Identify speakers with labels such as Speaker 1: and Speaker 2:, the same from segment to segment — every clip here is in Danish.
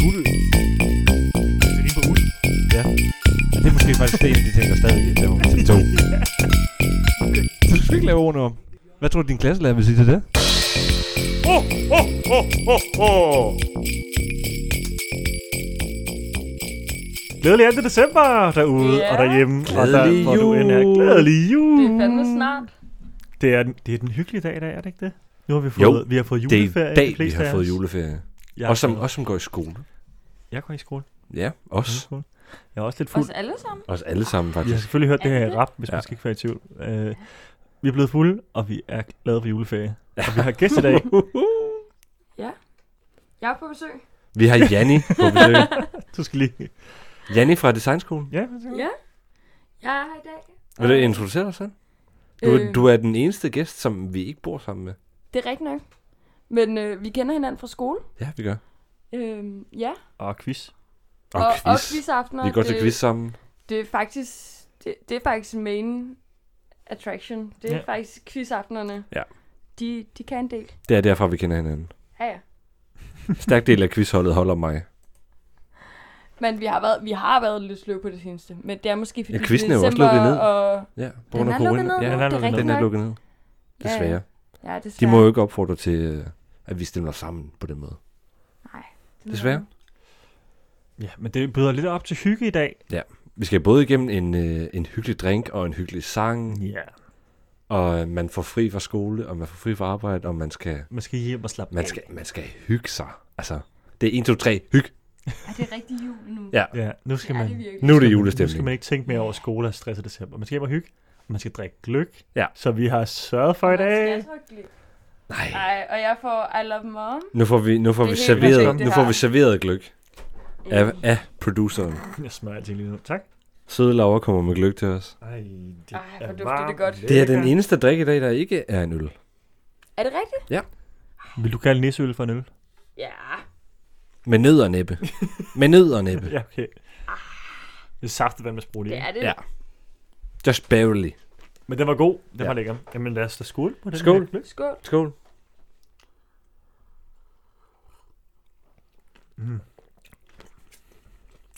Speaker 1: guld.
Speaker 2: Altså, Det er lige på uld.
Speaker 1: Og det er måske faktisk det, en af de ting, der stadig er på til to. Så du skal ikke lave ordene om. Hvad tror du, din klasselærer vil sige til det?
Speaker 2: Glædelig 2. december derude
Speaker 3: Ja.
Speaker 2: og derhjemme.
Speaker 1: Glædelig
Speaker 2: og der, Hvor du end er.
Speaker 1: jul.
Speaker 2: Glædelig jul.
Speaker 3: Det er
Speaker 4: Mm.
Speaker 3: fandme snart.
Speaker 2: Det er, den- det er den hyggelige dag i dag, er det ikke det? Nu har vi fået,
Speaker 4: Jo,
Speaker 2: vi har fået
Speaker 4: Det
Speaker 2: juleferie.
Speaker 4: er i
Speaker 2: de
Speaker 4: dag, vi
Speaker 2: fleste af
Speaker 4: har fået
Speaker 2: os.
Speaker 4: juleferie.
Speaker 2: Jeg,
Speaker 4: Og som,
Speaker 2: går-
Speaker 4: og som går i skole.
Speaker 2: jeg går i skole.
Speaker 4: Ja,
Speaker 2: Jeg, går i
Speaker 4: os.
Speaker 2: skole. jeg er også lidt fuld.
Speaker 3: Os alle sammen.
Speaker 4: Os alle sammen,
Speaker 2: Vi Altså, har
Speaker 4: faktisk.
Speaker 2: selvfølgelig hørt det
Speaker 3: Er
Speaker 2: her
Speaker 3: det?
Speaker 2: rap, hvis man
Speaker 4: Ja.
Speaker 2: skal ikke være i tvivl. Øh, vi er blevet fulde, og vi er glade for juleferie. Og vi har gæst i dag.
Speaker 3: Jeg er på besøg.
Speaker 4: Vi har Janni på besøg.
Speaker 2: Du skal lige...
Speaker 4: Janni fra Designskolen.
Speaker 2: Ja, hvad siger du?
Speaker 3: Ja. Jeg er her i dag.
Speaker 4: Vil du introducere dig selv? Du,
Speaker 3: Øh,
Speaker 4: du er den eneste gæst, som vi ikke bor sammen med.
Speaker 3: Det er rigtigt nok. Men øh, vi kender hinanden fra skole.
Speaker 4: Ja, vi gør.
Speaker 3: Øh, ja.
Speaker 2: og quiz.
Speaker 4: Og,
Speaker 3: og,
Speaker 4: quiz.
Speaker 3: og quizaftener.
Speaker 4: Vi går til
Speaker 3: det-
Speaker 4: quiz sammen.
Speaker 3: Det er faktisk, det, det er faktisk main attraction. Det er
Speaker 2: Ja.
Speaker 3: ja. faktisk quizaftenerne.
Speaker 4: Ja.
Speaker 3: De, de kan en del.
Speaker 4: Det er derfor, vi kender hinanden.
Speaker 3: Ja, ja.
Speaker 4: Stærk del af quizholdet holder mig.
Speaker 3: Men vi har været, vi har været lidt sløve på det seneste. Men det er måske fordi
Speaker 4: Ja, quizzen er jo
Speaker 3: det
Speaker 4: også
Speaker 3: december,
Speaker 4: lukket ned.
Speaker 3: Og,
Speaker 4: Ja, på
Speaker 3: den
Speaker 4: grund af
Speaker 3: er lukket
Speaker 4: corona.
Speaker 3: ned.
Speaker 4: Ja,
Speaker 3: nu,
Speaker 2: den er
Speaker 3: det
Speaker 2: lukket ned.
Speaker 3: rigtigt
Speaker 4: den er
Speaker 3: nok.
Speaker 4: lukket ned.
Speaker 3: Ja, ja.
Speaker 4: Desværre.
Speaker 3: Ja,
Speaker 4: De
Speaker 3: desværre.
Speaker 4: må jo ikke opfordre til, øh, at vi stiller os sammen på den måde.
Speaker 3: Den er
Speaker 4: desværre.
Speaker 3: lukket.
Speaker 2: Ja, men det byder lidt op til hygge i dag.
Speaker 4: Vi skal både igennem en, øh, en hyggelig drink og en hyggelig sang,
Speaker 2: Ja.
Speaker 4: og øh, man får fri fra skole, og man får fri fra arbejde, og man skal,
Speaker 2: Man skal hjem og slappe
Speaker 4: man
Speaker 2: af.
Speaker 4: skal, man skal hygge sig. Altså, det er 1, 2, 3, hyg.
Speaker 3: Ej, det er rigtig jul nu.
Speaker 4: Ja.
Speaker 2: Ja, nu skal
Speaker 3: Ja,
Speaker 2: man...
Speaker 3: det er virkelig.
Speaker 4: Nu er det
Speaker 2: Nu skal
Speaker 4: julestemning.
Speaker 2: man ikke tænke mere over skole og stress i december. Man skal hjem og hygge. og Man skal drikke gløk.
Speaker 4: Ja.
Speaker 2: Så vi har sørget for i dag.
Speaker 4: Nej,
Speaker 3: Nej, og jeg får I love mom.
Speaker 4: nu får vi, nu får
Speaker 3: Det
Speaker 4: vi
Speaker 3: er helt
Speaker 4: serveret,
Speaker 3: perfekt, det Mm.
Speaker 4: nu får
Speaker 3: her.
Speaker 4: vi serveret gløk af, af produceren.
Speaker 2: Jeg smager alting lige nu. Tak.
Speaker 4: Søde Laura kommer med gløk til os.
Speaker 2: Ej, det
Speaker 3: Ej, hvor dufter det godt.
Speaker 4: Det er den eneste drik i dag, der ikke er en øl.
Speaker 3: Er det rigtigt?
Speaker 2: Vil du kalde nisseøl for en øl?
Speaker 3: Ja.
Speaker 4: Med nød og næppe. Med nød og næppe.
Speaker 2: Ja, okay. Det er saftet vand med sprut i.
Speaker 3: Ah. Det er det.
Speaker 4: Ja. Just barely.
Speaker 2: Men den var god. Den
Speaker 4: Ja.
Speaker 2: var lækker. Jamen lad os da skål på den
Speaker 4: Skål.
Speaker 2: her gløgg.
Speaker 3: Skål.
Speaker 4: Skål.
Speaker 2: Mm.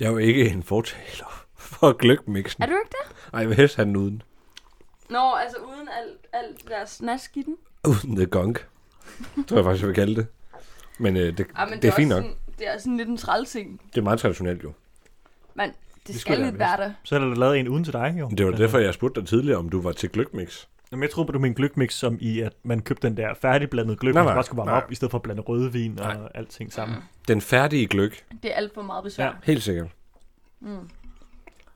Speaker 4: Jeg er jo ikke en fortaler for gløgmixen.
Speaker 3: Er du ikke det?
Speaker 4: Ej, jeg vil helst have den uden.
Speaker 3: Nå, altså uden alt, alt det der snask i den.
Speaker 4: Uden the gunk. Tror jeg faktisk, jeg vil kalde det. Men, øh, det,
Speaker 3: Ah, men
Speaker 4: det, det er fint
Speaker 3: også
Speaker 4: nok.
Speaker 3: Sådan, det er sådan lidt en træl ting.
Speaker 4: Det er meget traditionelt jo.
Speaker 3: Men det,
Speaker 2: Det skulle
Speaker 3: det skal
Speaker 2: være
Speaker 3: lidt være der.
Speaker 2: Så er der lavet en uden til dig, jo.
Speaker 4: Men Det var derfor, jeg spurgte dig tidligere, om du var til gløgmix.
Speaker 2: Jamen, jeg troede, du mente gløgmix, som i, at man købte den der færdigblandede gløgmix,
Speaker 4: Nej,
Speaker 2: som
Speaker 4: nej,
Speaker 2: bare skulle varme
Speaker 4: nej.
Speaker 2: op, i stedet for at blande rødvin og
Speaker 4: Nej.
Speaker 2: alting sammen.
Speaker 4: Den færdige gløg.
Speaker 3: Mm. Det er alt for meget besvær.
Speaker 2: Ja.
Speaker 3: Ja.
Speaker 4: Helt sikkert.
Speaker 3: Mm.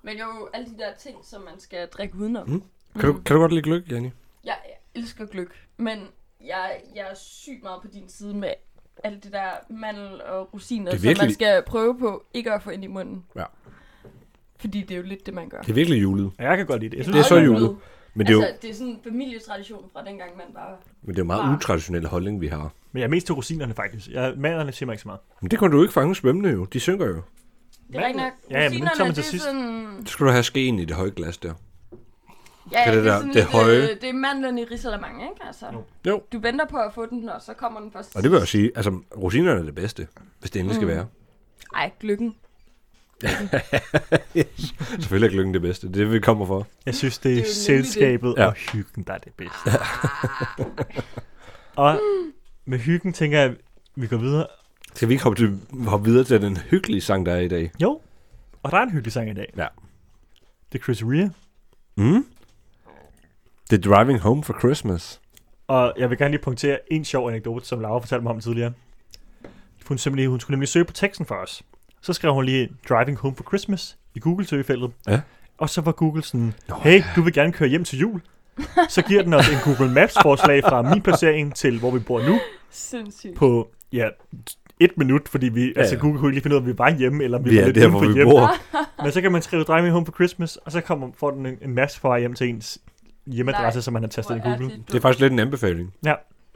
Speaker 3: Men jo, alle de der ting, som man skal drikke udenom.
Speaker 4: Mm. Kan, du, kan du godt lide gløg, Janni?
Speaker 3: Jeg, jeg elsker gløk, men jeg, jeg er sygt meget på din side med alt det der mandel og rosiner,
Speaker 4: Det er
Speaker 3: som man
Speaker 4: virkelig-
Speaker 3: skal prøve på ikke at få ind i munden.
Speaker 4: Ja.
Speaker 3: Fordi det er jo lidt det, man gør.
Speaker 4: Det er virkelig julet.
Speaker 2: Og jeg kan godt lide det. Jeg synes,
Speaker 4: Det er så
Speaker 3: meget
Speaker 4: julet.
Speaker 3: julet.
Speaker 4: Men det er jo,
Speaker 3: altså, det er sådan en familietradition fra dengang, man bare...
Speaker 4: men det er jo meget
Speaker 3: Wow.
Speaker 4: utraditionel holdning, vi har.
Speaker 2: Men jeg er mest til rosinerne, faktisk. Jeg, mandlerne siger mig ikke så meget.
Speaker 4: Men det kunne du ikke fange svømmende jo. De synker jo.
Speaker 3: Det er rigtig nok.
Speaker 2: Ja, ja, men det tager man til
Speaker 3: det er
Speaker 2: sidst.
Speaker 3: sådan...
Speaker 4: Så skulle du have skeen i det høje glas der.
Speaker 3: Ja,
Speaker 4: Kan det
Speaker 3: det,
Speaker 4: der-
Speaker 3: er sådan
Speaker 4: det
Speaker 3: lidt,
Speaker 4: høje?
Speaker 3: øh, det er mandlen i risalamang, ikke? Altså,
Speaker 2: Jo.
Speaker 4: Jo.
Speaker 3: Du venter på at få den, og så kommer den først.
Speaker 4: Og det vil jeg også sige, altså rosinerne er det bedste, hvis det endelig skal
Speaker 3: Mm.
Speaker 4: være.
Speaker 3: Ej, gløggen.
Speaker 4: Selvfølgelig er gløggen det bedste. Det er det, vi kommer for.
Speaker 2: Jeg synes, det er,
Speaker 3: Det
Speaker 2: det
Speaker 3: er jo
Speaker 2: er
Speaker 3: nemlig
Speaker 2: selskabet
Speaker 4: det.
Speaker 2: ja. og hyggen, der er det bedste. og med hyggen tænker jeg, at vi går videre.
Speaker 4: Skal vi ikke hoppe, til, hoppe videre til den hyggelige sang, der er i dag?
Speaker 2: Jo, og der er en hyggelig sang i dag.
Speaker 4: Ja.
Speaker 2: Det er Chris Rea.
Speaker 4: Mm? The Driving Home for Christmas.
Speaker 2: Og jeg vil gerne lige punktere en sjov anekdote, som Laura fortalte mig om tidligere. Hun, simpelthen, hun skulle nemlig søge på teksten for os. Så skrev hun lige Driving Home for Christmas i Google-søgefeltet.
Speaker 4: Ja.
Speaker 2: Og så var Google sådan,
Speaker 4: Nå,
Speaker 2: hey, du vil gerne køre hjem til jul. Så giver den os en Google Maps-forslag fra min placering til, hvor vi bor nu,
Speaker 3: Sindssygt.
Speaker 2: på ja, et minut, fordi vi, ja, altså
Speaker 4: ja.
Speaker 2: Google kunne ikke lige finde ud af, om vi var hjemme, eller om vi,
Speaker 4: Vi
Speaker 2: var
Speaker 4: er
Speaker 2: lidt
Speaker 4: der,
Speaker 2: uden
Speaker 4: hvor
Speaker 2: for
Speaker 4: vi
Speaker 2: hjem.
Speaker 4: bor.
Speaker 2: Men så kan man skrive Driving Home for Christmas, og så kommer, får den en, en masse fra hjem til ens hjemmeadresse,
Speaker 3: Nej,
Speaker 2: som man har tastet i
Speaker 3: Hvor er
Speaker 2: Google.
Speaker 3: dumt.
Speaker 4: Det er faktisk lidt en anbefaling.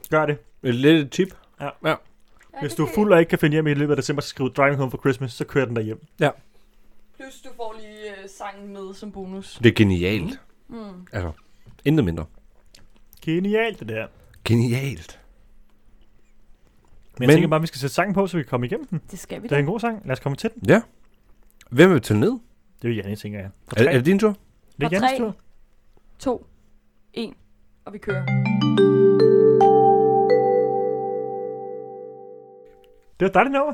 Speaker 2: Gør det.
Speaker 4: Et lidt et tip.
Speaker 3: Ja,
Speaker 2: Hvis
Speaker 3: det
Speaker 2: du er
Speaker 3: kan
Speaker 2: fuld og ikke kan finde hjem i løbet af december, så skriv Driving Home for Christmas, så kører den derhjem.
Speaker 3: jeg. Plus du får lige øh, sangen med som bonus.
Speaker 4: Det er genialt.
Speaker 3: Mm.
Speaker 4: Altså, intet mindre.
Speaker 2: Genialt det der.
Speaker 4: Genialt.
Speaker 2: Men jeg
Speaker 4: Men-
Speaker 2: tænker bare, at vi skal sætte sangen på, så vi kan komme igennem den.
Speaker 3: Det skal vi
Speaker 2: Det er
Speaker 3: da.
Speaker 2: en god sang. Lad os komme til den.
Speaker 4: Ja. Hvem vil tælle ned?
Speaker 2: Det er jo Janne, tænker jeg. Fra
Speaker 4: Er,
Speaker 2: tre.
Speaker 4: er det din tur?
Speaker 2: det er
Speaker 3: Fra
Speaker 2: Jannes
Speaker 3: tre.
Speaker 2: tur.
Speaker 3: To, en, og vi kører.
Speaker 2: Det var et dejligt nummer.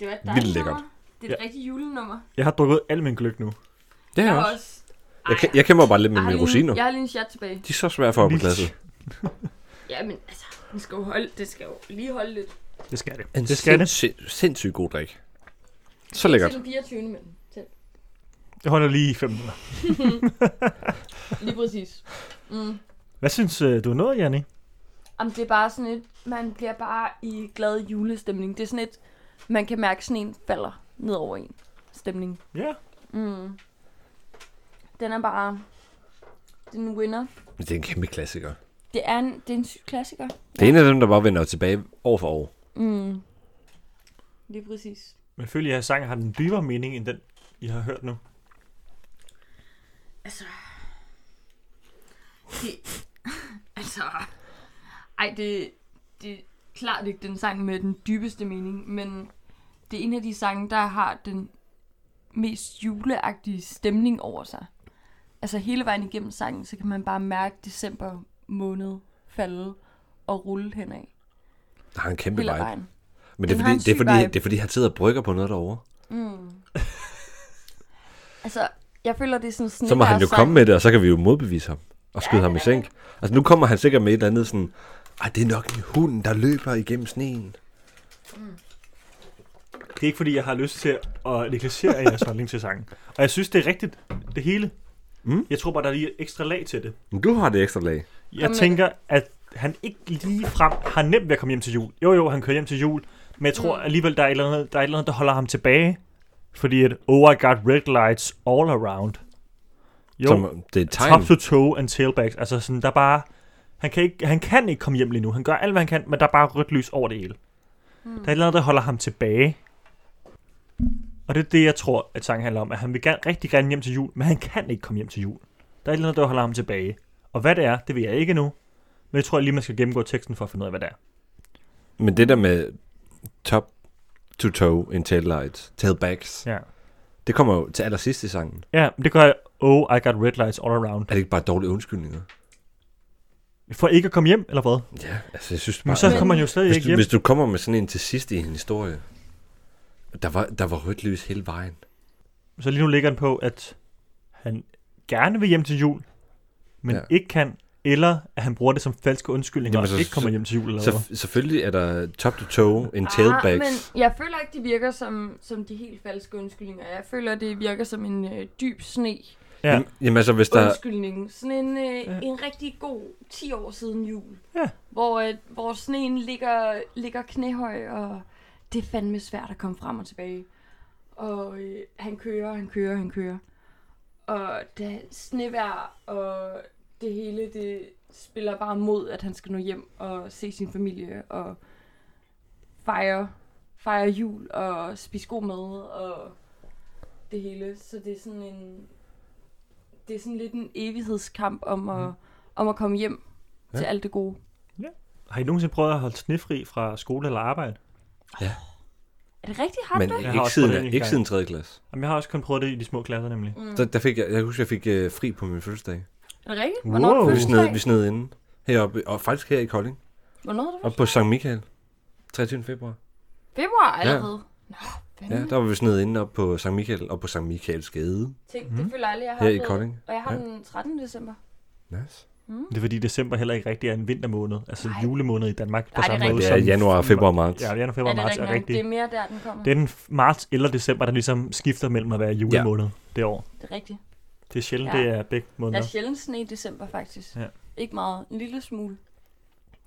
Speaker 3: Det var et
Speaker 4: Vildt
Speaker 3: dejligt
Speaker 4: lækkert.
Speaker 3: nummer. Det er et rigtigt julenummer.
Speaker 2: Jeg har drukket al min gløk nu.
Speaker 4: Det er
Speaker 3: jeg
Speaker 4: jeg
Speaker 3: har
Speaker 4: også.
Speaker 3: også.
Speaker 4: Jeg, kæ- jeg kæmper bare lidt med
Speaker 3: jeg har
Speaker 4: mine
Speaker 3: lige en-
Speaker 4: rosiner.
Speaker 3: Jeg har lige en chat tilbage.
Speaker 4: De er så svære for at
Speaker 2: Lige-
Speaker 4: på glasset.
Speaker 3: Ja, men altså, vi skal jo holde, det skal jo lige holde lidt.
Speaker 2: Det skal det.
Speaker 4: En
Speaker 2: det skal det.
Speaker 4: sindssyg, sindssygt god drik. Så lækkert.
Speaker 3: Til den 24. men til.
Speaker 2: Jeg holder lige i fem minutter.
Speaker 3: Lige præcis. Mm.
Speaker 2: Hvad synes øh, du er noget, Janne?
Speaker 3: Jamen, det er bare sådan et, man bliver bare i glad julestemning. Det er sådan et, man kan mærke sneen falder ned over en stemning.
Speaker 2: Ja.
Speaker 3: Mm. Den er bare, den winner.
Speaker 4: Men det er en kæmpe klassiker.
Speaker 3: Det er en, det er en syg klassiker.
Speaker 4: Det er en af dem, der bare vender tilbage år for år.
Speaker 3: Mm. Lige præcis.
Speaker 2: Men føler jeg, at sangen har den dybere mening, end den, I har hørt nu.
Speaker 3: Altså... Det... altså... Ej, det, det er klart ikke den sang med den dybeste mening, men det er en af de sange, der har den mest juleagtige stemning over sig. Altså hele vejen igennem sangen, så kan man bare mærke december måned falde og rulle henad.
Speaker 4: Der har en kæmpe
Speaker 3: Hele
Speaker 4: vibe.
Speaker 3: vejen.
Speaker 4: Men det er, fordi,
Speaker 3: Den har en
Speaker 4: det, er
Speaker 3: syg
Speaker 4: fordi,
Speaker 3: vibe.
Speaker 4: det er fordi, han sidder og brygger på noget derovre.
Speaker 3: Mm. altså, jeg føler, det er sådan en
Speaker 4: Så må han jo
Speaker 3: snevejrssang.
Speaker 4: komme med det, og så kan vi jo modbevise ham. Og skyde ham i sænk. Altså nu kommer han sikkert med et eller andet sådan, ej, det er nok en hund, der løber igennem sneen.
Speaker 2: Det er ikke, fordi jeg har lyst til at negligere jeres holdning til sangen. Og jeg synes, det er rigtigt, det hele.
Speaker 4: Mm.
Speaker 2: Jeg tror bare, der er lige et ekstra lag til det.
Speaker 4: Men du har det ekstra lag.
Speaker 2: Jeg
Speaker 3: med det.
Speaker 2: tænker, at han ikke lige frem har nemt ved at komme hjem til jul. Jo, jo, han kører hjem til jul, men jeg tror
Speaker 3: Mm.
Speaker 2: alligevel, der er, et eller andet, der er et eller andet, der holder ham tilbage. Fordi at, oh, I got red lights all around. Jo, Som
Speaker 4: Som, det er et
Speaker 2: top
Speaker 4: tegn.
Speaker 2: to toe and tailbacks. Altså sådan, der er bare... Han kan, ikke, han kan ikke komme hjem lige nu. Han gør alt, hvad han kan, men der er bare rødt lys over det hele. Mm. Der er et eller andet, der holder ham tilbage. Og det er det, jeg tror, at sangen handler om. At han vil gerne, rigtig gerne hjem til jul, men han kan ikke komme hjem til jul. Der er et eller andet, der holder ham tilbage. Og hvad det er, det ved jeg ikke nu. Men jeg tror lige, man skal gennemgå teksten for at finde ud af, hvad det er.
Speaker 4: Men det der med top to toe in tail lights, tailbacks,
Speaker 2: Ja,
Speaker 4: det kommer jo til allersidst i sangen.
Speaker 2: ja men det gør jeg. Oh, I got red lights all around.
Speaker 4: Er det ikke bare dårlige undskyldninger?
Speaker 2: For ikke at komme hjem, eller hvad?
Speaker 4: Ja, altså jeg synes bare...
Speaker 2: Men så kommer han jo stadig
Speaker 4: hvis,
Speaker 2: ikke
Speaker 4: du,
Speaker 2: hjem.
Speaker 4: hvis du kommer med sådan en til sidst i en historie, der var, der var rødt lys hele vejen.
Speaker 2: Så lige nu ligger den på, at han gerne vil hjem til jul, men
Speaker 4: Ja.
Speaker 2: ja. ikke kan, eller at han bruger det som falske undskyldninger,
Speaker 4: Jamen,
Speaker 2: og
Speaker 4: så-
Speaker 2: ikke kommer
Speaker 4: så-
Speaker 2: hjem til jul. Eller hvad?
Speaker 4: Så, selvfølgelig er der top to toe, en
Speaker 3: Ah,
Speaker 4: tailback.
Speaker 3: men jeg føler ikke, de virker som, som de helt falske undskyldninger. Jeg føler, det virker som en øh, dyb sne
Speaker 2: Ja.
Speaker 4: Jamen, Jamen altså, hvis der...
Speaker 3: undskyldning. Sådan en, øh,
Speaker 2: Ja.
Speaker 3: ja. en rigtig god 10 år siden jul.
Speaker 2: Ja.
Speaker 3: Hvor, øh, hvor sneen ligger, ligger knæhøj, og det er fandme svært at komme frem og tilbage. Og øh, han kører, han kører, han kører. Og der er snevejr, og det hele, det spiller bare mod, at han skal nå hjem og se sin familie, og fejre, fejre jul, og spise god mad, og det hele. Så det er sådan en, det er sådan lidt en evighedskamp om at, om at komme hjem
Speaker 4: Ja.
Speaker 3: ja. til alt det gode.
Speaker 2: Har I nogensinde prøvet at holde snefri fra skole eller arbejde?
Speaker 3: Er det rigtigt, har
Speaker 4: Men
Speaker 3: du det?
Speaker 2: Jeg har
Speaker 4: ikke
Speaker 2: også prøvet
Speaker 4: siden,
Speaker 2: det en
Speaker 4: ikke
Speaker 2: gang.
Speaker 4: siden 3. klasse.
Speaker 2: Jamen, jeg har også kun prøvet det i de små klasser, nemlig.
Speaker 3: Mm.
Speaker 4: Der, der fik jeg, jeg husker, jeg fik øh, fri på min fødselsdag.
Speaker 3: Er det rigtigt?
Speaker 2: Wow.
Speaker 3: Hvornår wow.
Speaker 2: Oh.
Speaker 3: er
Speaker 4: Vi
Speaker 3: det
Speaker 4: sned, vi
Speaker 3: fødselsdag?
Speaker 4: sned inde heroppe, og faktisk her i Kolding,
Speaker 3: Hvornår er det
Speaker 4: og på Sankt Michael, 23. februar.
Speaker 3: fødselsdag? Februar allerede? Nå,
Speaker 4: Ja,
Speaker 3: fanden.
Speaker 4: der var vi sned inde op på Sankt Michael, og på Sankt Michaels gade
Speaker 3: Tænk, det føler jeg aldrig, jeg har
Speaker 4: her i
Speaker 3: oplevet.
Speaker 4: Kolding.
Speaker 3: Og jeg har
Speaker 4: Ja.
Speaker 3: den 13. december.
Speaker 4: Nice.
Speaker 2: Det er fordi december heller ikke rigtig er en vintermåned, altså
Speaker 3: Nej.
Speaker 2: julemåned i Danmark. På
Speaker 3: Nej, det er
Speaker 2: samme
Speaker 3: rigtigt.
Speaker 2: måde
Speaker 4: Det er
Speaker 2: som-
Speaker 4: januar, februar, marts.
Speaker 2: Ja, januar,
Speaker 3: Er
Speaker 2: februar,
Speaker 3: det
Speaker 2: marts er
Speaker 3: rigtigt? nok?
Speaker 2: rigtig.
Speaker 3: Det er mere der, den kommer.
Speaker 2: Det er den f- marts eller december, der ligesom skifter mellem at være julemåned det år.
Speaker 3: det er rigtigt.
Speaker 2: Det er sjældent,
Speaker 3: Ja.
Speaker 2: det er begge
Speaker 3: Der
Speaker 2: måneder.
Speaker 3: er sjældent sne i december, faktisk.
Speaker 2: Ja.
Speaker 3: Ikke meget. En lille smule.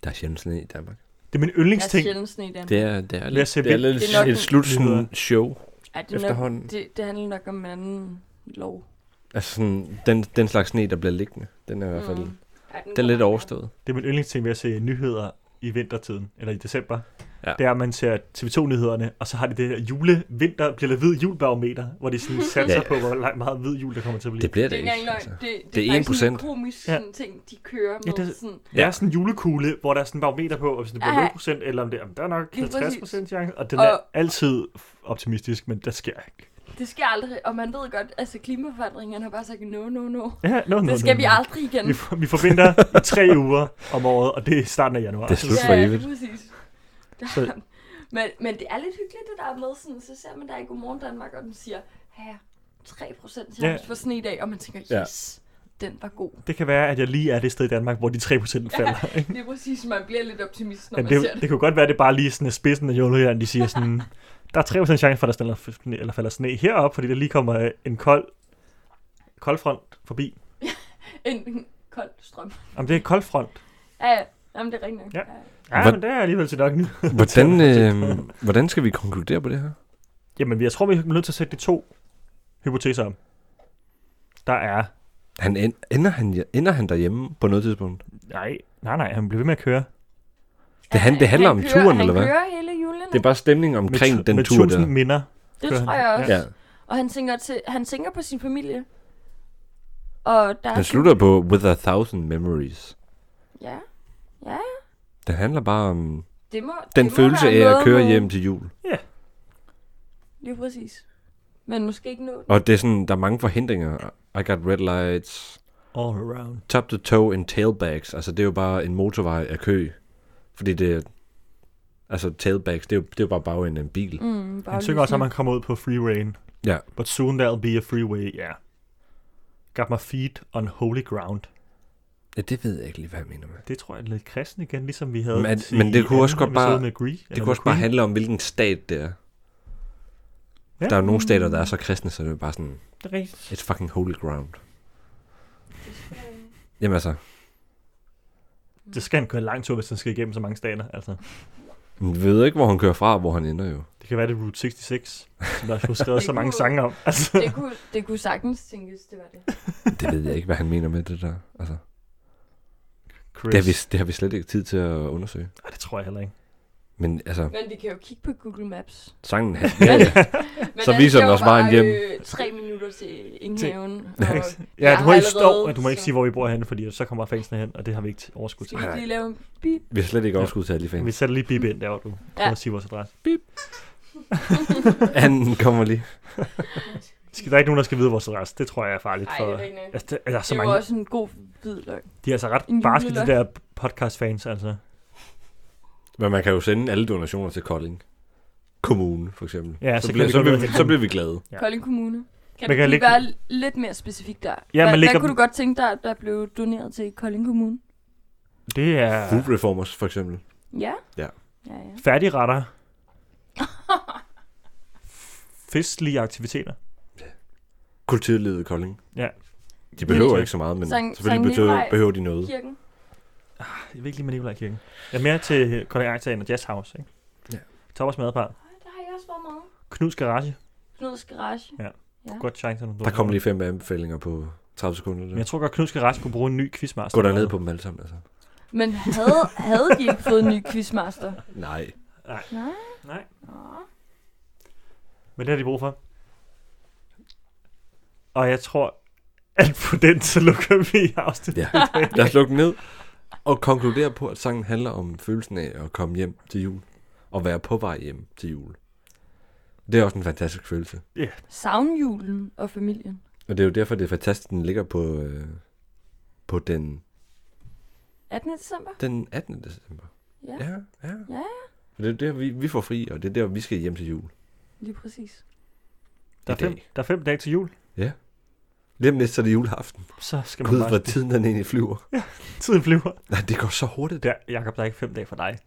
Speaker 4: Der er sjældent sne i Danmark.
Speaker 2: Det er min
Speaker 3: Der er
Speaker 2: yndlingsting.
Speaker 3: sjældent sne i Danmark.
Speaker 4: Det er, det
Speaker 2: Lad
Speaker 4: er,
Speaker 2: os
Speaker 4: lidt,
Speaker 2: se, Mm.
Speaker 4: det er
Speaker 2: hvem-
Speaker 4: lidt
Speaker 3: Mm. Det er nok
Speaker 4: et
Speaker 3: en-
Speaker 4: slut sådan
Speaker 2: Nyheder.
Speaker 4: show.
Speaker 3: Ej, det, er
Speaker 4: efterhånden.
Speaker 3: nok, det, det handler nok om en anden lov.
Speaker 4: Altså sådan, den, den slags sne, der bliver liggende, den er i hvert fald
Speaker 3: Ej,
Speaker 4: den er
Speaker 3: går
Speaker 4: lidt
Speaker 3: nok.
Speaker 4: overstået.
Speaker 2: Det er min yndlingsting ved at se nyheder i vintertiden, eller i december.
Speaker 4: Ja.
Speaker 2: ja. det er, at man ser TV2-nyhederne, og så har de det der jule, vinter, bliver hvid julbarometer, hvor de sådan satser
Speaker 4: Ja.
Speaker 2: ja. på, hvor langt- meget hvid jul der kommer til at blive.
Speaker 4: Det bliver
Speaker 3: Det
Speaker 4: det
Speaker 3: er ikke
Speaker 4: ikke.
Speaker 3: engang løgn.
Speaker 4: altså.
Speaker 3: Det, det,
Speaker 4: Det er
Speaker 3: det er faktisk sådan
Speaker 4: 1%.
Speaker 3: en komisk
Speaker 2: Ja.
Speaker 3: sådan, ting, de kører
Speaker 2: Ja,
Speaker 3: med. Ja,
Speaker 2: det-
Speaker 3: det, sådan,
Speaker 2: Det er sådan en julekugle, hvor der er sådan en barometer på, og hvis det
Speaker 3: Ja.
Speaker 2: bliver 0%, eller om det jamen, der er nok
Speaker 3: Lige
Speaker 2: 50%
Speaker 3: præcis.
Speaker 2: chance, og den
Speaker 3: Og-
Speaker 2: er altid optimistisk, men der sker ikke.
Speaker 3: det sker aldrig, og man ved godt, altså klimaforandringerne har bare sagt no, no, no.
Speaker 2: Ja, no, no,
Speaker 3: Det skal
Speaker 2: no,
Speaker 3: vi
Speaker 2: no.
Speaker 3: aldrig igen.
Speaker 2: Vi, vi forventer i tre uger om året, og det er starten af januar.
Speaker 4: Det er slut.
Speaker 3: ja,
Speaker 4: for
Speaker 3: ja,
Speaker 4: evigt.
Speaker 3: det er præcis.
Speaker 2: Så-
Speaker 3: men, men det er lidt hyggeligt, det der er med. Sådan, så ser man der i Godmorgen Danmark, og den siger, her, 3% chance
Speaker 2: Ja.
Speaker 3: ja. for sne i dag, og man tænker,
Speaker 4: Ja.
Speaker 3: yes, den var god.
Speaker 2: Det kan være, at jeg lige er det sted i Danmark, hvor de 3% falder. ikke?
Speaker 3: Det er præcis, man bliver lidt optimist, når
Speaker 2: Men
Speaker 3: man det,
Speaker 2: det,
Speaker 3: ser det.
Speaker 2: det kunne godt være, at det bare lige sådan er spidsen af Jolland, de siger sådan, der er 3% chance for, at der stiller sne, eller falder sne heroppe, fordi der lige kommer øh, en kold, kold front forbi.
Speaker 3: En, en kold strøm.
Speaker 2: Om det er kold front.
Speaker 3: Ja, ja. Jamen, det er rigtigt. nok.
Speaker 2: Ja.
Speaker 3: Ja. ja.
Speaker 2: Ja,
Speaker 4: Hvor-
Speaker 2: men det er alligevel til nok nu.
Speaker 4: Hvordan, øh, hvordan skal vi konkludere på det her?
Speaker 2: Jamen, jeg tror, vi er nødt til at sætte de to hypoteser om. Der er...
Speaker 4: Han en- ender, han, ender han derhjemme på noget tidspunkt?
Speaker 2: Nej, nej, nej, han bliver ved med at køre.
Speaker 4: Det, han, det handler om
Speaker 3: kører,
Speaker 4: turen, eller hvad?
Speaker 3: Han kører hele julen.
Speaker 4: Det er bare stemningen omkring
Speaker 2: med, tu-
Speaker 4: den
Speaker 2: med
Speaker 4: tur der.
Speaker 2: tusind minder.
Speaker 3: Det
Speaker 2: kører
Speaker 3: tror
Speaker 2: han.
Speaker 3: jeg også.
Speaker 4: Ja.
Speaker 3: Og han tænker, til, han tænker på sin familie. Og der er
Speaker 4: Den slutter på With a Thousand Memories.
Speaker 3: Ja,
Speaker 4: Den handler bare om
Speaker 3: det må,
Speaker 4: den
Speaker 3: det må
Speaker 4: følelse
Speaker 3: være
Speaker 4: af at
Speaker 3: noget
Speaker 4: køre
Speaker 3: med-
Speaker 4: hjem til jul.
Speaker 3: Lige præcis. Men måske ikke Mm, nå den.
Speaker 4: Og det er sådan, der er mange forhindringer. I got red lights,
Speaker 2: All around.
Speaker 4: top to toe and tailbags. Altså, det er jo bare en motorvej af kø. Fordi det er... Altså, tailbags, det er jo, det er jo bare bagenden af en bil.
Speaker 3: Mm, bare
Speaker 2: Han
Speaker 3: lige
Speaker 2: synger også, at
Speaker 3: sådan-
Speaker 2: man kommer ud på freewayen.
Speaker 4: Ja.
Speaker 2: But soon there'll be a freeway, yeah. Got my feet on holy ground.
Speaker 4: Ja, det ved jeg ikke lige, hvad jeg mener med.
Speaker 2: Det tror jeg er lidt kristen igen, ligesom vi havde
Speaker 4: Men-
Speaker 2: til
Speaker 4: men det kunne
Speaker 2: i
Speaker 4: også
Speaker 2: anden
Speaker 4: godt bare-
Speaker 2: episode med Gree,
Speaker 4: Det kunne også bare handle om, hvilken stat det er.
Speaker 2: Ja.
Speaker 4: Der er jo nogle stater, der er så kristne, så det er bare sådan,
Speaker 2: Det er rigtigt.
Speaker 4: it's fucking holy ground. Jamen altså,
Speaker 2: Det skal han køre en lang tur, hvis han skal igennem så mange stater. Altså,
Speaker 4: man ved ikke, hvor han kører fra, og hvor han ender jo.
Speaker 2: det kan være, det er Route 66, som der er skrevet
Speaker 3: Det
Speaker 2: så mange
Speaker 3: kunne-
Speaker 2: sange om. Altså,
Speaker 3: Det kunne, det kunne sagtens tænkes, det var det.
Speaker 4: Det ved jeg ikke, hvad han mener med det der. Altså,
Speaker 2: Chris.
Speaker 4: det, har vi, det har vi slet ikke tid til at undersøge.
Speaker 2: Ej, det tror jeg heller ikke.
Speaker 4: Men altså,
Speaker 3: Men vi kan jo kigge på Google Maps.
Speaker 4: sangen... Han, ja, ja.
Speaker 3: Men
Speaker 4: Så
Speaker 3: der
Speaker 4: viser den
Speaker 3: sker
Speaker 4: os
Speaker 3: jo bare,
Speaker 4: vejen hjem.
Speaker 3: Øh, tre minutter til Enghaven. Og
Speaker 2: Ja,
Speaker 3: jeg
Speaker 2: du må
Speaker 3: har
Speaker 2: ikke stå,
Speaker 3: allerede-
Speaker 2: at du må ikke
Speaker 3: så-
Speaker 2: sige, hvor vi bor henne, fordi så kommer fangsene hen, og det har vi ikke til- overskud til.
Speaker 3: skal vi ikke lige lave en bip?
Speaker 4: Vi har slet ikke overskud til alle de
Speaker 2: Vi
Speaker 4: fans.
Speaker 2: sætter lige Bibi ind der, hvor du prøver
Speaker 3: Ja.
Speaker 2: at sige vores adresse.
Speaker 4: Anden kommer lige.
Speaker 2: Skal der er ikke nogen, der skal vide vores adresse? Det tror jeg er farligt
Speaker 3: Ej,
Speaker 2: for...
Speaker 3: det er ikke nok.
Speaker 2: Altså, der, der er så
Speaker 3: Det er
Speaker 2: mange...
Speaker 3: jo også en god hvid løg.
Speaker 2: De er altså ret
Speaker 3: en
Speaker 2: barske, de
Speaker 3: juleløg.
Speaker 2: der podcast-fans, altså.
Speaker 4: Men man kan jo sende alle donationer til Kolding. Kommune, for eksempel.
Speaker 2: Ja, så
Speaker 4: så,
Speaker 2: kan
Speaker 4: bliver,
Speaker 2: vi
Speaker 4: så,
Speaker 2: gå
Speaker 4: bliver,
Speaker 2: ned og hente
Speaker 4: så bliver vi glade.
Speaker 2: Ja.
Speaker 3: Ja. Kolding Kommune. Kan
Speaker 2: Man
Speaker 3: du
Speaker 2: kan
Speaker 3: lige
Speaker 2: lægge-
Speaker 3: være lidt mere specifik der?
Speaker 2: man
Speaker 3: Ja, hvad,
Speaker 2: lægger-
Speaker 3: hvad kunne du godt tænke dig, der blev doneret til Kolding Kommune?
Speaker 2: Det er
Speaker 4: Food Reformers, for eksempel.
Speaker 3: Ja?
Speaker 4: Ja.
Speaker 3: Ja, ja.
Speaker 2: færdigretter. Festlige aktiviteter.
Speaker 4: Kulturlivet i Kolding.
Speaker 2: Ja.
Speaker 4: De behøver ikke så meget, men
Speaker 3: Sankt-
Speaker 4: selvfølgelig
Speaker 3: Sankt
Speaker 4: betyder,
Speaker 3: Nikolaj.
Speaker 4: behøver de noget.
Speaker 3: Kirken.
Speaker 2: Jeg ved ikke lige med Nikolaj Kirken. Jeg er mere til Kolding Arktien og Jazz House, ikke?
Speaker 4: Ja.
Speaker 2: Thomas Madpar.
Speaker 3: Ej, Der har jeg også været meget.
Speaker 2: Knuds Garage.
Speaker 3: Knuds Garage.
Speaker 2: Godt chance. når du-
Speaker 4: Der kom lige fem anbefalinger på 30 sekunder.
Speaker 2: Men
Speaker 4: Der.
Speaker 2: jeg tror godt, Knuds Garage kunne bruge en ny quizmaster.
Speaker 4: Gå derned på dem alle sammen, altså.
Speaker 3: Men havde, havde de ikke fået en ny quizmaster?
Speaker 4: Nej.
Speaker 3: Nej.
Speaker 2: Nej,
Speaker 3: Nå.
Speaker 2: men det har de brug for. Og jeg tror, at på den, så lukker vi afsnittet.
Speaker 4: Ja. Lad os lukke den ned og konkludere på, at sangen handler om følelsen af at komme hjem til jul. Og være på vej hjem til jul. Det er også en fantastisk følelse.
Speaker 3: Savnjulen og familien.
Speaker 4: Og det er jo derfor, det er fantastisk, at den ligger på, øh, på den,
Speaker 3: 18. december?
Speaker 4: den 18. december.
Speaker 3: Ja, ja.
Speaker 4: Ja, ja.
Speaker 3: Ja.
Speaker 4: For det er der, vi, vi får fri, og det er der, vi skal hjem til jul.
Speaker 3: lige præcis.
Speaker 2: Der er,
Speaker 4: I dag.
Speaker 2: fem, der er fem dage til jul.
Speaker 4: Lige om lidt, så er det juleaften.
Speaker 2: Så skal man
Speaker 4: Gud, hvor
Speaker 2: bare...
Speaker 4: tiden den egentlig flyver.
Speaker 2: Tiden flyver.
Speaker 4: Nej, det går så hurtigt.
Speaker 2: Der, Jacob, der er ikke fem dage for dig.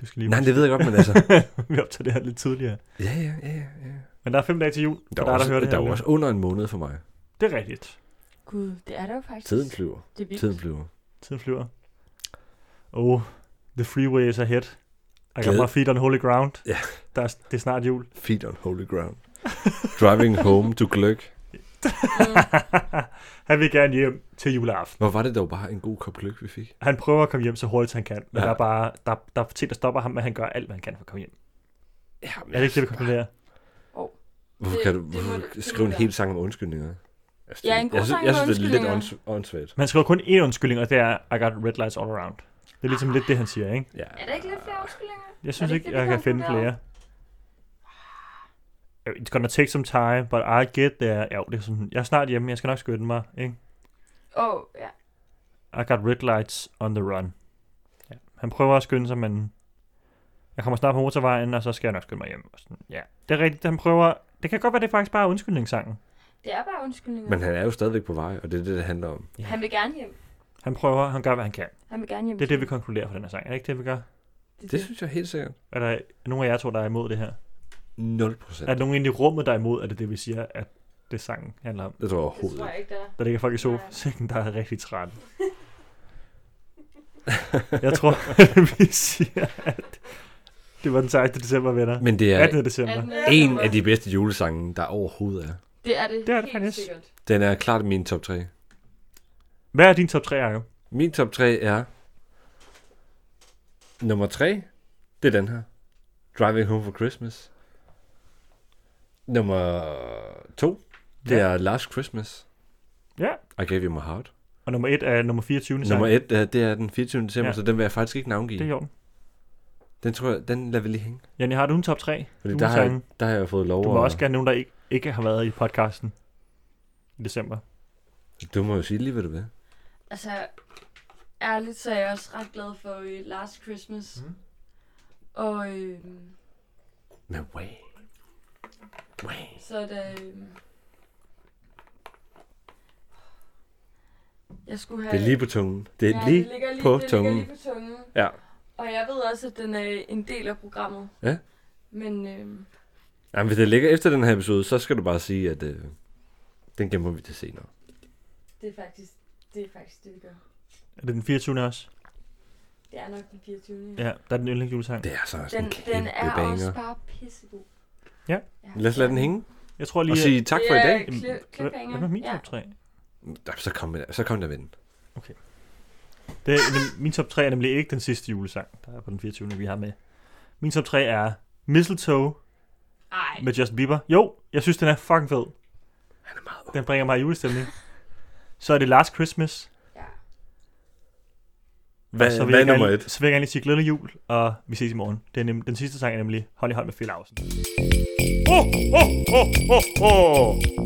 Speaker 2: Du skal lige
Speaker 4: Nej, det ved jeg godt, men altså...
Speaker 2: Vi optager det her lidt tidligere.
Speaker 4: Ja, ja, ja, ja, ja.
Speaker 2: Men der er fem dage til jul, og
Speaker 4: Der
Speaker 2: der,
Speaker 4: er,
Speaker 2: der,
Speaker 4: også,
Speaker 2: hører
Speaker 4: der,
Speaker 2: det her
Speaker 4: er jo
Speaker 2: nu.
Speaker 4: også under en måned for mig.
Speaker 2: Det er rigtigt.
Speaker 3: Gud, det er der jo faktisk.
Speaker 4: Tiden flyver.
Speaker 3: Det er vildt.
Speaker 4: Tiden flyver.
Speaker 2: Tiden flyver. Oh, the freeway is ahead. I got
Speaker 4: Glæde.
Speaker 2: my feet on holy ground.
Speaker 4: Ja.
Speaker 2: Der er, det er snart jul.
Speaker 4: Feet on holy ground. Driving home to Gløk.
Speaker 2: han vil gerne hjem til juleaften.
Speaker 4: Hvor var det dog bare en god kop lykke, vi fik?
Speaker 2: Han prøver at komme hjem så hurtigt, han kan. Men
Speaker 4: Ja.
Speaker 2: ja. der er bare der, der er ting, der stopper ham, men han gør alt, hvad han kan for at komme hjem.
Speaker 4: Ja,
Speaker 2: Er det ikke det, vi konkluderer?
Speaker 4: Hvorfor
Speaker 3: Det-
Speaker 4: kan du
Speaker 3: det
Speaker 4: hvorfor
Speaker 3: må-
Speaker 4: kan du
Speaker 3: det
Speaker 4: skrive
Speaker 3: må
Speaker 4: en
Speaker 3: være.
Speaker 4: hel sang om undskyldninger? Altså,
Speaker 3: Ja, en god
Speaker 4: jeg, synes,
Speaker 3: sang
Speaker 4: jeg
Speaker 3: om
Speaker 4: synes, det er lidt
Speaker 3: undskyldninger.
Speaker 4: ånds- åndssvagt.
Speaker 2: Man skriver kun én undskyldning, og det er, I got red lights all around. Det er ligesom lidt det, han siger, ikke?
Speaker 4: Ja.
Speaker 3: Er der ikke lidt flere undskyldninger?
Speaker 2: Jeg synes
Speaker 3: det
Speaker 2: ikke,
Speaker 3: ikke det,
Speaker 2: jeg
Speaker 3: vi
Speaker 2: kan finde
Speaker 3: konkluderer?
Speaker 2: flere. Øh, It's gonna take some time, but I get there. Ja, det er sådan, jeg er snart hjemme, jeg skal nok skynde mig, ikke?
Speaker 3: Åh, oh, ja.
Speaker 2: I got red lights on the run. Ja. Han prøver at skynde sig, men jeg kommer snart på motorvejen, og så skal jeg nok skynde mig hjem. Og sådan, ja, det er rigtigt, han prøver... Det kan godt være, det er faktisk bare er undskyldningssangen.
Speaker 3: Det er bare undskyldninger.
Speaker 4: Men han er jo stadigvæk på vej, og det er det, det handler om.
Speaker 3: Han vil gerne hjem.
Speaker 2: Han prøver, han gør, hvad han kan.
Speaker 3: Han vil gerne hjem.
Speaker 2: Det er det, vi konkluderer for den her sang. Er det ikke det, vi gør?
Speaker 3: Det,
Speaker 4: Det synes jeg helt sikkert.
Speaker 2: Er der nogen af jer to, der er imod det her?
Speaker 4: 0
Speaker 2: Er
Speaker 4: procent.
Speaker 2: der nogen inde i rummet, der er imod, at det er det, vi siger, at det sangen handler om?
Speaker 4: Det tror jeg
Speaker 3: det tror
Speaker 4: overhovedet ikke.
Speaker 3: jeg ikke, der er.
Speaker 2: Der ligger folk i
Speaker 3: Nej.
Speaker 2: sofaen, der er rigtig trætte. Jeg tror, vi siger, at det var den 16. december, venner.
Speaker 4: Men det er
Speaker 2: 18. december.
Speaker 4: en af de bedste julesange, der overhovedet er.
Speaker 3: Det er det,
Speaker 2: Det er det
Speaker 3: helt
Speaker 2: faktisk.
Speaker 3: sikkert.
Speaker 4: Den er klart min top 3.
Speaker 2: Hvad er din top 3, Jacob?
Speaker 4: Min top 3 er... Nummer 3, det er den her. Driving Home for Christmas. Nummer 2, det
Speaker 2: Ja.
Speaker 4: er Last Christmas.
Speaker 2: Ja.
Speaker 4: I gave you my heart.
Speaker 2: Og nummer 1 er nummer 24. sang.
Speaker 4: Nummer 1, det er den 24. december,
Speaker 2: Ja.
Speaker 4: ja. så den vil jeg faktisk ikke navngive.
Speaker 2: Det er i orden.
Speaker 4: Den tror jeg, den lader vi lige hænge.
Speaker 2: Janne, har du en top 3?
Speaker 4: Fordi der har, jeg, der har jeg fået lov
Speaker 2: du må
Speaker 4: at-
Speaker 2: også gerne nogen, der ikke, ikke har været i podcasten i december.
Speaker 4: Du må jo sige lige, hvad du vil.
Speaker 3: Altså, ærligt så er jeg også ret glad for øh, Last Christmas.
Speaker 2: Mhm.
Speaker 3: Mm. Og øh,
Speaker 4: Men way. Way.
Speaker 3: så er der... Øh, jeg skulle have...
Speaker 4: Det er lige på tungen. Det er
Speaker 3: ja,
Speaker 4: ja, lige...
Speaker 3: det ligger lige
Speaker 4: på
Speaker 3: det
Speaker 4: tungen.
Speaker 3: Ligger lige på tungen.
Speaker 4: Ja.
Speaker 3: Og jeg ved også, at den er en del af programmet.
Speaker 4: Ja.
Speaker 3: Men øh,
Speaker 4: Jamen, hvis det ligger efter den her episode, så skal du bare sige, at øh, den gemmer vi til senere.
Speaker 3: det er faktisk det, er faktisk det vi gør.
Speaker 2: Er det den 24. også?
Speaker 3: Det er nok den 24.
Speaker 2: Ja, der er den yndlingsjulesang.
Speaker 4: Det er så også
Speaker 3: Den,
Speaker 4: en kæmpe
Speaker 3: den er
Speaker 4: banger.
Speaker 3: også bare pissegod.
Speaker 2: Ja.
Speaker 4: Lad os lade den hænge
Speaker 2: Jeg tror lige...
Speaker 4: og sige tak for i dag.
Speaker 2: at- Jamen,
Speaker 3: Cl-
Speaker 2: hvad- Hvad med min
Speaker 3: ja.
Speaker 2: top 3?
Speaker 4: Ja, Så kom, med, så kom der med den.
Speaker 2: Det er, nem- min top 3 er nemlig ikke den sidste julesang, der er på den 24. vi har med. Min top 3 er Mistletoe
Speaker 3: Ej,
Speaker 2: med Justin Bieber. Jo, jeg synes, den er fucking fed.
Speaker 4: Han er meget
Speaker 2: Den bringer mig i julestemning. Så er det Last Christmas.
Speaker 3: ja.
Speaker 4: Hvad,
Speaker 2: så
Speaker 4: hvad er nummer et?
Speaker 2: Så vil jeg gerne lige sige glædelig jul, og vi ses i morgen. Det er nem, den sidste sang er nemlig Hånd i hånd med Fjelausen. Oh, oh, oh, oh, oh.